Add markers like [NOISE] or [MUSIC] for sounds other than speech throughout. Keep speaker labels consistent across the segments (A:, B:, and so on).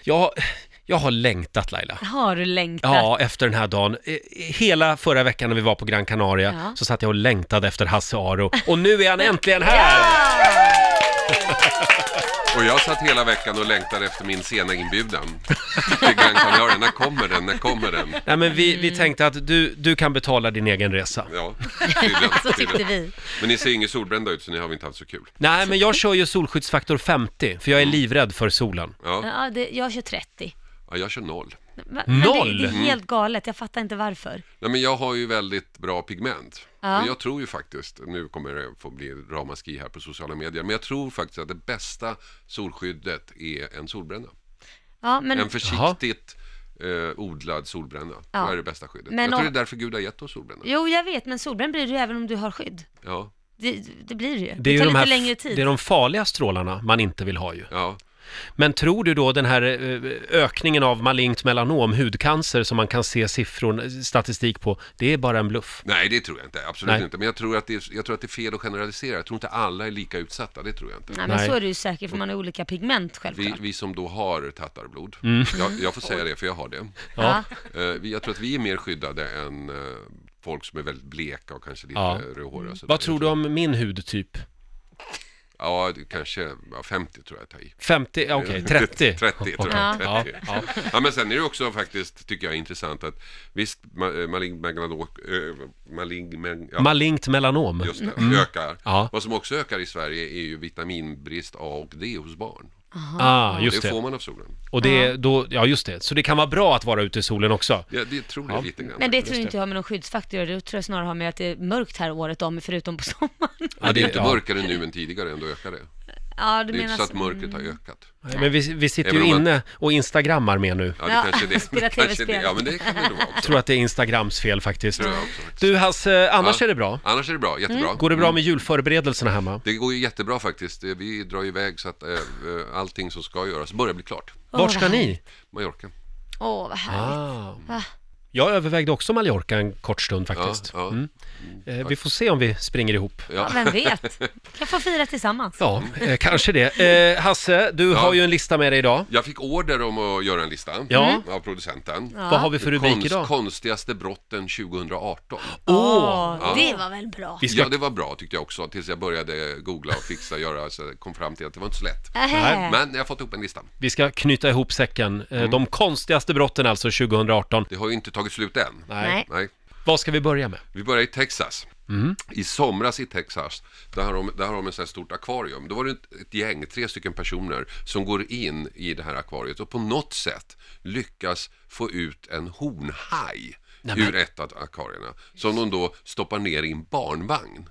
A: Jag, jag har längtat Laila.
B: Har du längtat?
A: Ja, efter den här dagen. Eh, Hela förra veckan när vi var på Gran Canaria
B: Ja.
A: så satt jag och längtade efter Hasse Aro. Och nu är
B: [LAUGHS]
A: han äntligen här!
C: Och jag satt hela veckan och längtade efter min sena inbjudan till Gran Canaria. När kommer den? När kommer den?
A: Nej, men vi, vi tänkte att du, du kan betala din egen resa.
C: Ja, tydligen.
B: [LAUGHS] Så tyckte vi.
C: Men ni ser ju inget solbrända ut så ni har väl inte haft så kul?
A: Nej, men jag kör ju solskyddsfaktor 50, för jag är livrädd för solen.
C: Ja,
B: Ja, det, jag kör 30.
C: ja jag kör noll.
B: Va- Men det,
A: Noll?
B: det är helt galet, jag fattar inte varför.
C: Nej men jag har ju väldigt bra pigment.
B: Ja.
C: Men jag tror ju faktiskt, nu kommer det få bli ramaskri här på sociala medier, men jag tror faktiskt att det bästa solskyddet är en solbränna.
B: Ja, men,
C: En försiktigt eh, odlad solbränna.
B: Ja.
C: Det är det bästa skyddet.
B: Men
C: jag tror
B: om-
C: det är därför Gud har gett oss solbränna.
B: jo, jag vet, men solbränd blir du även om du har skydd.
C: Ja,
B: Det, det blir det ju.
A: Det är
B: Det,
A: ju
B: tar
A: de
B: lite
A: här,
B: längre tid.
A: det är de farliga strålarna man inte vill ha ju.
C: ja.
A: Men tror du då den här eh, ökningen av malignt melanom, hudcancer, som man kan se siffror, statistik på, det är bara en bluff?
C: Nej, det tror jag inte. Absolut
A: Nej.
C: inte. Men jag tror, att det är, jag tror att det är fel att generalisera. Jag tror inte alla är lika utsatta. Det tror jag inte.
B: Nej, men
A: Nej.
B: så är det ju säkert för man har olika pigment
C: Vi,
B: självklart.
C: vi som då har tattarblod,
A: Mm.
C: jag, jag får säga det för jag har det.
B: Ja.
C: Eh, vi- jag tror att vi är mer skyddade än eh, folk som är väldigt bleka och kanske lite
A: Ja.
C: rödhåriga. och sådär.
A: Vad tror du om min typ? hudtyp?
C: Ja, det kanske ja, 50 tror jag tar i.
A: 50, ja, okej,
C: [LAUGHS]
A: 30.
C: 30 tror
B: Ja.
C: jag. 30. Ja. men sen är det också faktiskt, tycker jag, intressant att visst, ma- eh, malign melanok... eh, Malign... men- ja,
A: Malignt melanom.
C: Just det, ökar.
A: Mm. Ja.
C: Vad som också ökar i Sverige är ju vitaminbrist A och D hos barn.
A: Ah, just
C: det, får
A: det.
C: man av solen.
A: Och det är då, ja just det. Så det kan vara bra att vara ute i solen också.
C: Ja, det tror jag
A: Ja.
C: lite grann.
B: Men det tror jag inte jag har med någon skyddsfaktor att göra. det tror jag snarare har med att det är mörkt här året om, förutom på [LAUGHS] sommaren.
C: Men det är inte
A: ja.
C: mörkare nu än tidigare, ändå ökar det.
B: Ja, du
C: Det är
B: menar
C: inte så att mörkret har ökat.
A: Nej, Men vi, vi sitter ju
C: Även om man-
A: inne och instagrammar mer nu.
C: Ja, det
B: Ja, [LAUGHS]
C: kanske är det.
B: spela
C: kanske är det.
B: TV-spel.
C: Ja, men det kan det nog vara också.
A: Tror att det är Instagrams fel faktiskt.
C: Tror jag också. faktiskt.
A: Du Hasse, annars
C: Ja. Mm.
A: är det bra.
C: Annars är det bra,
B: Mm.
C: jättebra.
A: Går det bra med julförberedelserna hemma?
C: Det går ju jättebra faktiskt. Eh, Vi drar ju iväg så att eh, eh, allting som ska göras börjar bli klart.
B: Åh,
A: Vart
B: vad
A: ska
B: härligt.
A: ni?
C: Mallorca.
B: Åh, vad härligt.
A: Ah.
B: Va?
A: Jag övervägde också Mallorca en kort stund
C: Ja,
A: faktiskt.
C: ja.
A: Eh, vi får se om vi springer ihop.
B: Ja, vem vet? Kan få fira tillsammans.
A: Ja, eh, kanske det. Eh, Hasse, du
C: Ja.
A: har ju en lista med dig idag.
C: Jag fick order om att göra en lista
A: Ja.
C: av producenten.
B: Ja.
A: Vad har vi för rubrik
C: Konst-
A: idag?
C: Konstigaste brotten 2018.
A: Åh!
B: Åh, det var väl bra?
A: Vi ska...
C: Ja, det var bra tyckte jag också, tills jag började googla och fixa och göra, så jag kom fram till att det var inte så lätt.
B: Ähä.
C: Men jag har fått ihop en lista.
A: Vi ska knyta ihop säcken. Eh,
C: Mm.
A: De konstigaste brotten alltså 2018.
C: Det har ju inte tagit slut än.
A: Nej.
B: Nej.
C: Nej.
A: Vad ska vi börja med?
C: Vi börjar i Texas.
A: Mhm.
C: I somras i Texas, där har de, där har de ett sånt här stort akvarium. Då var det ett, ett gäng, tre stycken personer, som går in i det här akvariet och på något sätt lyckas få ut en hornhaj ur ett av akvarierna. Som de då stoppar ner i en barnvagn.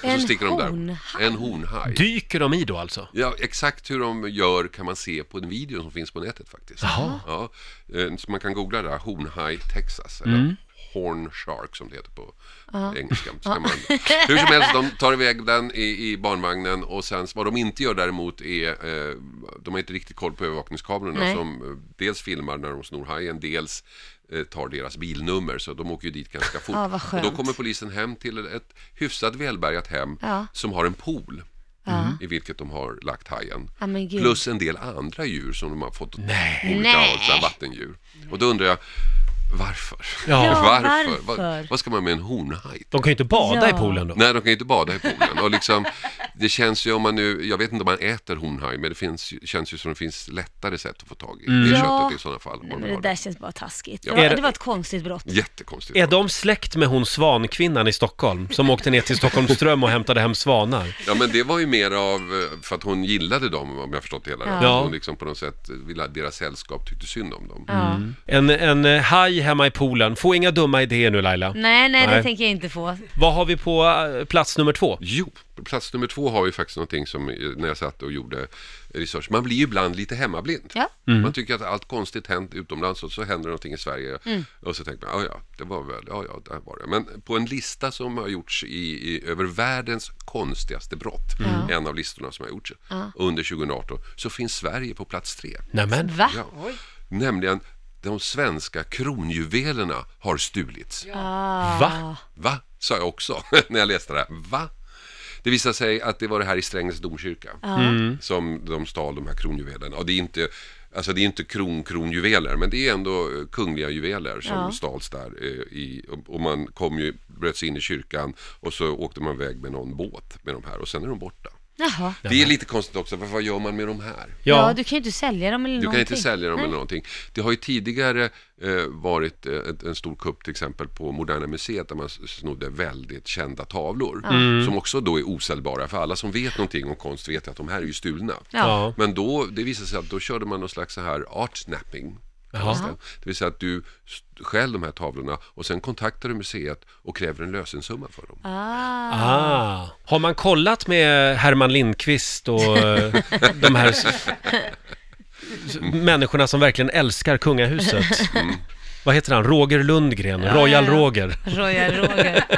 C: Och
B: En
C: så sticker de där.
B: hornhaj?
C: En hornhaj.
A: Dyker de i då alltså?
C: Ja, exakt hur de gör kan man se på en video som finns på nätet faktiskt.
A: Jaha.
C: Ja, eh, så man kan googla det där, Hornhaj, Texas, eller Horn Shark som det heter på engelska. Så kan man, hur som helst, de tar iväg den i, i barnvagnen och sen vad de inte gör däremot är, eh, de har inte riktigt koll på övervakningskamerorna
B: Nej.
C: som eh, dels filmar när de snor hajen, dels eh, tar deras bilnummer så de åker ju dit ganska fort.
B: Ja, vad skönt.
C: Och då kommer polisen hem till ett hyfsat välbärgat hem
B: Ja.
C: som har en pool Mm.
B: Ja.
C: i vilket de har lagt hajen.
B: Ja, men gud.
C: Plus en del andra djur som de har fått
A: Nej.
C: olika
B: Nej.
C: av, så här vattendjur. Och då undrar jag, varför?
A: Ja. Ja,
C: Vad-
B: varför?
C: Vad ska man med en honhaj?
A: De kan ju inte bada
B: Ja.
A: i poolen då.
C: Nej, de kan ju inte bada i poolen. Och liksom, det känns ju om man nu, jag vet inte om man äter honhaj, men det finns, ju- känns ju som det finns lättare sätt att få tag i det
B: Mm. Ja.
C: köttet i sådana fall. om man
B: Men
C: vill
B: det
C: ha det.
B: där känns bara taskigt.
C: Ja.
B: Det, var,
A: Är det-
B: det var ett konstigt brott.
C: Jättekonstigt.
A: Är de släkt med hon svankvinnan i Stockholm som åkte ner till Stockholmsström och hämtade hem svanar?
C: Ja, men det var ju mer av, eh, för att hon gillade dem om jag förstått det hela rätt.
A: Ja.
C: Hon liksom på något sätt ville att deras sällskap tyckte synd om dem.
B: Ja. Mm.
A: En, en eh, haj hemma i poolen. Få inga dumma idéer nu Laila.
B: Nej, nej,
A: Nej.
B: det tänker jag inte få.
A: Vad har vi på eh, plats nummer två?
C: Jo, plats nummer två har ju faktiskt någonting som eh, när jag satt och gjorde research. Man blir ju ibland lite hemmablind.
B: Ja.
C: Man tycker att allt konstigt hänt utomlands och så händer någonting i Sverige.
B: Mm.
C: Och så tänker man, ja ja, det var väl, ja ja, där var det. Men på en lista som har gjorts i, i, över världens konstigaste brott,
B: Mm.
C: en av listorna som har gjorts under 2018, så finns Sverige på plats tre.
A: Nämen.
B: Va?
C: Ja. Nämligen, de svenska kronjuvelerna har stulits.
B: Ah.
A: Va?
C: Va? Sa jag också [LAUGHS] när jag läste det här. Va? Det visade sig att det var det här i Strängnäs domkyrka som de stal de här kronjuvelerna. Och det är inte Alltså det är inte kron, kronjuveler, men det är ändå eh, kungliga juveler som
B: Ja.
C: stals där. eh, I, och- och man kom ju, bröt sig in i kyrkan och så åkte man iväg med någon båt med de här och sen är de borta.
B: Jaha.
C: Det är lite konstigt också, för vad gör man med de här?
B: Ja.
A: Ja,
B: du kan ju inte sälja dem eller
C: Du kan
B: någonting.
C: inte sälja dem eller någonting. Det har ju tidigare eh, varit eh, ett- en stor kupp till exempel på Moderna Museet där man s- snodde väldigt kända tavlor
A: Mm.
C: som också då är osäljbara för alla som vet någonting om konst vet att de här är ju stulna.
B: Ja.
A: ja,
C: Men då, det visade sig att då körde man någon slags så här art snapping.
A: Jaha.
C: Det vill säga att du st- stjäl de här tavlorna och sen kontaktar du museet och kräver en lösensumma för dem.
B: Ah.
A: Ah. Har man kollat med Herman Lindqvist och eh, de här s- s- människorna som verkligen älskar kungahuset? Vad heter han? Roger Lundgren? Royal
B: ja, ja.
A: Roger?
B: Royal Roger.
A: [LAUGHS]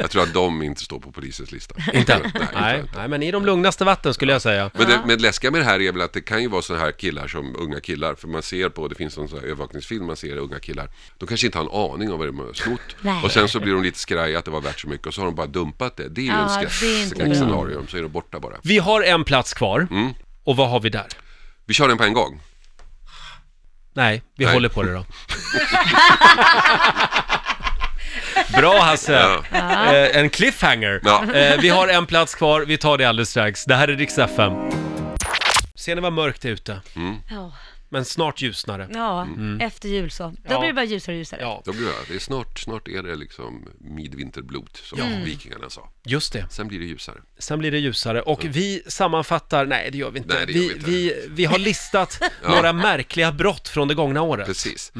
C: Jag tror att de inte står på polisens lista.
A: Inte?
C: [LAUGHS] Nej,
A: Nej, nej, men i de lugnaste vatten skulle jag säga.
C: Men det, men det läskiga med det här är väl att det kan ju vara sådana här killar som unga killar. För man ser på, det finns någon sån här övervakningsfilm man ser unga killar. De kanske inte har en aning om vad de har snott.
B: Nej.
C: och sen så blir de lite skraj att det var värt så mycket och så har de bara dumpat det. Det är ju
B: Ja,
C: en
B: det är
C: skräck-
B: inte
C: skräckscenario. Så är de borta bara.
A: Vi har en plats kvar. Och vad har vi där?
C: Vi kör den på en gång.
A: Nej, vi
C: Nej.
A: håller på det då. [LAUGHS] Bra Hasse! Eh, en cliffhanger.
C: Ja.
A: Eh, vi har en plats kvar, vi tar det alldeles strax. Det här är Rix FM. Ser ni vad mörkt det är ute?
B: Ja,
A: Men snart ljusnar det.
B: ja
C: Mm.
B: efter jul så. Då
A: Ja.
B: blir det bara ljusare och ljusare.
A: Ja,
C: Då blir det, det är snart, snart är det liksom midvinterblot som
B: Mm.
C: vikingarna sa.
A: just det.
C: Sen blir det ljusare.
A: Sen blir det ljusare. Och vi sammanfattar, nej det gör vi inte.
C: Nej, det gör
A: vi,
C: vi inte.
A: Vi, vi har
C: [LAUGHS]
A: listat några märkliga brott från det gångna året.
C: Precis.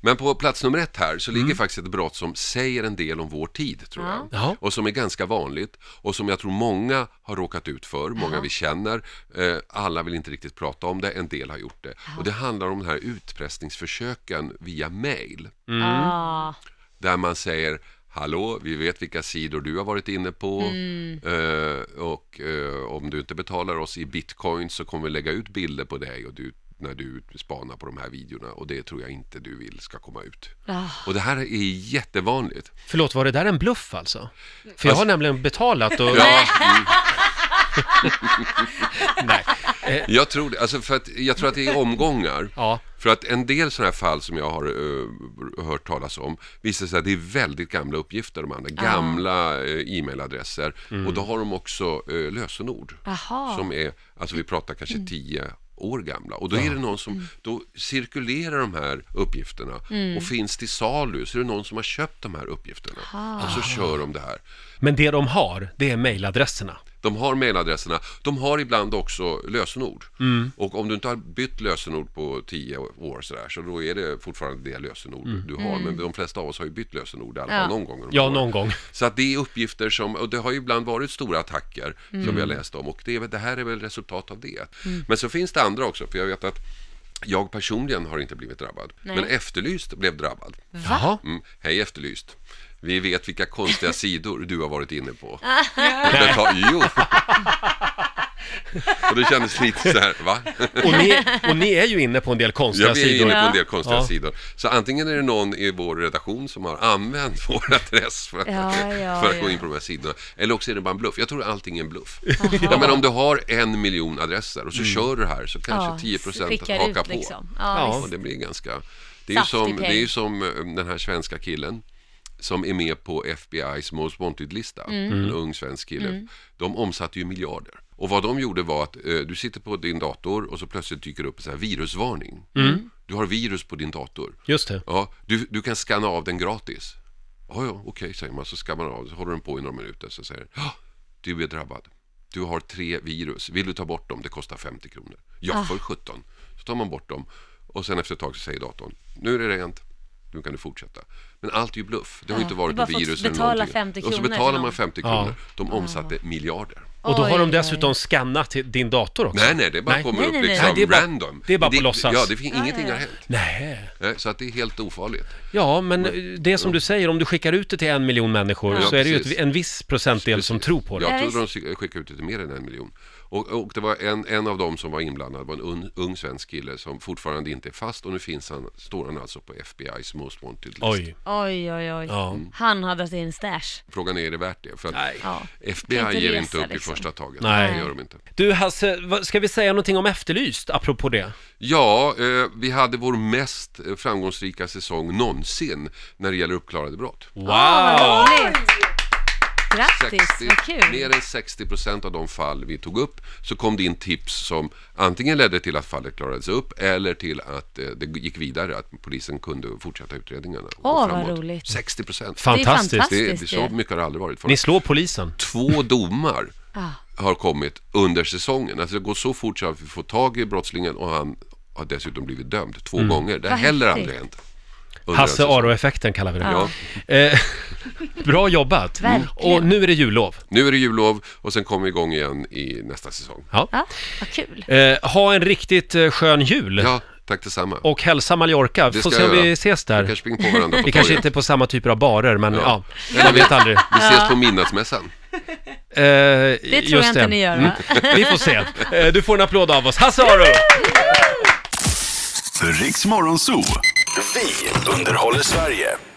C: Men på plats nummer ett här så ligger faktiskt ett brott som säger en del om vår tid, tror jag.
A: Jaha.
C: Och som är ganska vanligt och som jag tror många har råkat ut för, många vi känner. Eh, alla vill inte riktigt prata om det, en del har gjort det. Och det handlar om de här utpressningsförsöken via mail.
A: Mm.
B: Ah.
C: Där man säger Hallå, vi vet vilka sidor du har varit inne på eh, och eh, om du inte betalar oss i bitcoin så kommer vi lägga ut bilder på dig och du, när du spanar på de här videorna och det tror jag inte du vill ska komma ut.
B: Ah.
C: Och det här är jättevanligt.
A: Förlåt, var det där en bluff alltså? För jag har
C: Alltså-
A: nämligen betalat och...
C: Ja, mm.
A: Mm. [LAUGHS] Nej. Eh.
C: Jag tror det. Alltså för att, jag tror att det är omgångar.
A: Ja.
C: För att en del sådana här fall som jag har eh, hört talas om visar sig att det är väldigt gamla uppgifter de använder. Gamla eh, e-mailadresser.
A: Mm.
C: Och då har de också eh, lösenord.
B: Jaha. [LAUGHS]
C: Som är, alltså vi pratar kanske
A: Mm.
C: tio år gamla. Och då är det någon som, då cirkulerar de här uppgifterna
A: Mm.
C: och finns till salu. Så är det någon som har köpt de här uppgifterna. Och så kör de det här.
A: Men det de har, det är mejladresserna.
C: De har mailadresserna. De har ibland också lösenord. Och om du inte har bytt lösenord på 10 år sådär, så då är det fortfarande det lösenord du har. Men de flesta av oss har ju bytt lösenord i alla
B: Mm. Ja.
C: fall någon gång. under
A: Ja,
C: åren.
A: någon gång.
C: Så att det är uppgifter som, och det har ju ibland varit stora attacker som
B: Mm.
C: vi har läst om och det, är, väl- det här är väl resultat av det. Men så finns det andra också, för jag vet att jag personligen har inte blivit drabbad,
B: Nej.
C: men Efterlyst blev drabbad.
A: Jaha.
C: Mm. Hej Efterlyst. Vi vet
B: [LAUGHS]
C: vilka konstiga sidor du har varit inne på. Beta- jo. Och det kändes lite så här, va?
A: Och ni, och ni är ju inne på en del konstiga
C: Jag blir
A: sidor.
C: inne på en
B: Ja.
C: del konstiga
A: Ja.
C: sidor. Så antingen är det någon i vår redaktion som har använt [LAUGHS] vår adress för att,
B: Ja, ja,
C: för att gå
B: ja.
C: in på de här sidorna. Eller också är det bara en bluff. Jag tror allting är en bluff. Ja, men om du har en miljon adresser och
A: Mm.
C: så kör du det här så
B: Ja,
C: kanske 10 procent
B: skickar
C: hakar
B: ut
C: på.
B: liksom.
A: Ja.
B: Ja,
C: Ja,
B: visst.
C: det blir ganska... Det är, ju
B: Saftig
C: som, det
B: peng.
C: är ju som eh, den här svenska killen som är med på FBI's Most Wanted-lista,
B: Mm.
C: en ung svensk kille. De omsatte ju miljarder. Och vad de gjorde var att eh, du sitter på din dator och så plötsligt dyker det upp en sån här virusvarning.
B: Mm.
C: Du har virus på din dator.
A: Just det.
C: Ja, du, du kan scanna av den gratis. Ja, ja, okej, säger man. Så skannar man av den, så håller den på i några minuter. Så säger den, ja, du är drabbad. Du har tre virus. Vill du ta bort dem? Det kostar 50 kronor.
B: Ah.
C: Ja, för 17. Så tar man bort dem och sen efter ett tag så säger datorn, nu är det rent. Nu kan du fortsätta. Men allt är ju bluff. Det har
B: Ja,
C: ju inte varit
B: Ah, du bara
C: något
B: får
C: virus eller
B: betala
C: någonting.
B: 50
C: Och så
B: kronor Ah.
C: betalar
B: till
C: man
B: någon.
C: 50
A: Ja.
C: kronor. De omsatte miljarder.
A: Och då har de
B: Oj, oj, oj.
A: dessutom skannat till din dator också.
C: Nej, nej, det bara kommer
B: Nej,
C: upp
B: nej, nej.
C: liksom
A: Nej, det är bara-
C: random.
A: det är bara på låtsas.
C: Ja, det finns ingenting har hänt.
A: Nej.
C: Nej, Så att det är helt ofarligt.
A: Ja, men eh, det är som du säger, om du skickar ut det till en miljon människor
C: Mm. Ja,
A: så är det ju
C: precis.
A: ett, en viss procentdel som tror på det.
C: Jag
B: Ja,
C: trodde de skickade ut lite mer än en miljon. Och, och det var en, en av dem som var inblandad var en un, ung svensk kille som fortfarande inte är fast och nu finns han, står han alltså på FBI's Most Wanted List.
A: Oj.
B: Oj, oj, oj.
A: Ja.
B: Han har dragit in stash.
C: Frågan är, är det värt det? För att
A: Nej.
B: Ja.
C: FBI
B: Kan inte
C: ger
B: resa,
C: inte upp
B: liksom.
C: i första taget.
A: Nej.
C: Det gör de inte.
A: Du Hasse, vad- ska vi säga någonting om Efterlyst, apropå det?
C: Ja, eh, vi hade vår mest eh, framgångsrika säsong någonsin när det gäller uppklarade brott.
A: Wow!
B: Vad roligt! Grattis, vad
C: mer
B: kul!
C: än 60 procent av de fall vi tog upp så kom det in tips som antingen ledde till att fallet klarades upp eller till att eh, det gick vidare, att polisen kunde fortsätta utredningarna. och gå
B: Åh, vad
C: framåt.
B: roligt.
C: 60 procent.
B: Det är
A: Fantastiskt.
B: fantastiskt.
C: Det, det, så
B: ju.
C: mycket har det aldrig varit förut.
A: Ni slår polisen.
C: Två domar
B: Ah.
C: har kommit under säsongen. Alltså det går så fort så att vi får tag i brottslingen och han har dessutom blivit dömd två gånger. Det
B: Mm.
C: har
B: Vad
C: heller
B: häftigt.
C: aldrig hänt. Under en
A: Hasse
C: säsong.
A: Aro-effekten kallar vi det.
C: Ja.
A: Eh, [LAUGHS] bra jobbat!
B: Verkligen.
A: Och nu är det jullov.
C: Nu är det jullov och sen kommer vi igång igen i nästa säsong.
A: Ja.
B: Ja, vad kul.
A: Eh, ha en riktigt eh, skön jul
C: Ja, tack detsamma.
A: och hälsa Mallorca.
C: Det
A: Får
C: ska
A: se om
C: jag
A: vi
C: göra.
A: ses
C: Vi
A: där.
C: kanske springer på varandra på
A: Vi kanske
C: torget.
A: inte är på samma typer av barer, men ja,
C: Ja.
A: man vet aldrig.
C: Vi ses på midnattsmässan.
A: Eh, det Mm.
B: Det tror jag inte ni gör, va?
A: Vi får se. Eh, du får en applåd av oss. Hasse Aro!
D: Riks Morgonzoo. Vi underhåller Sverige.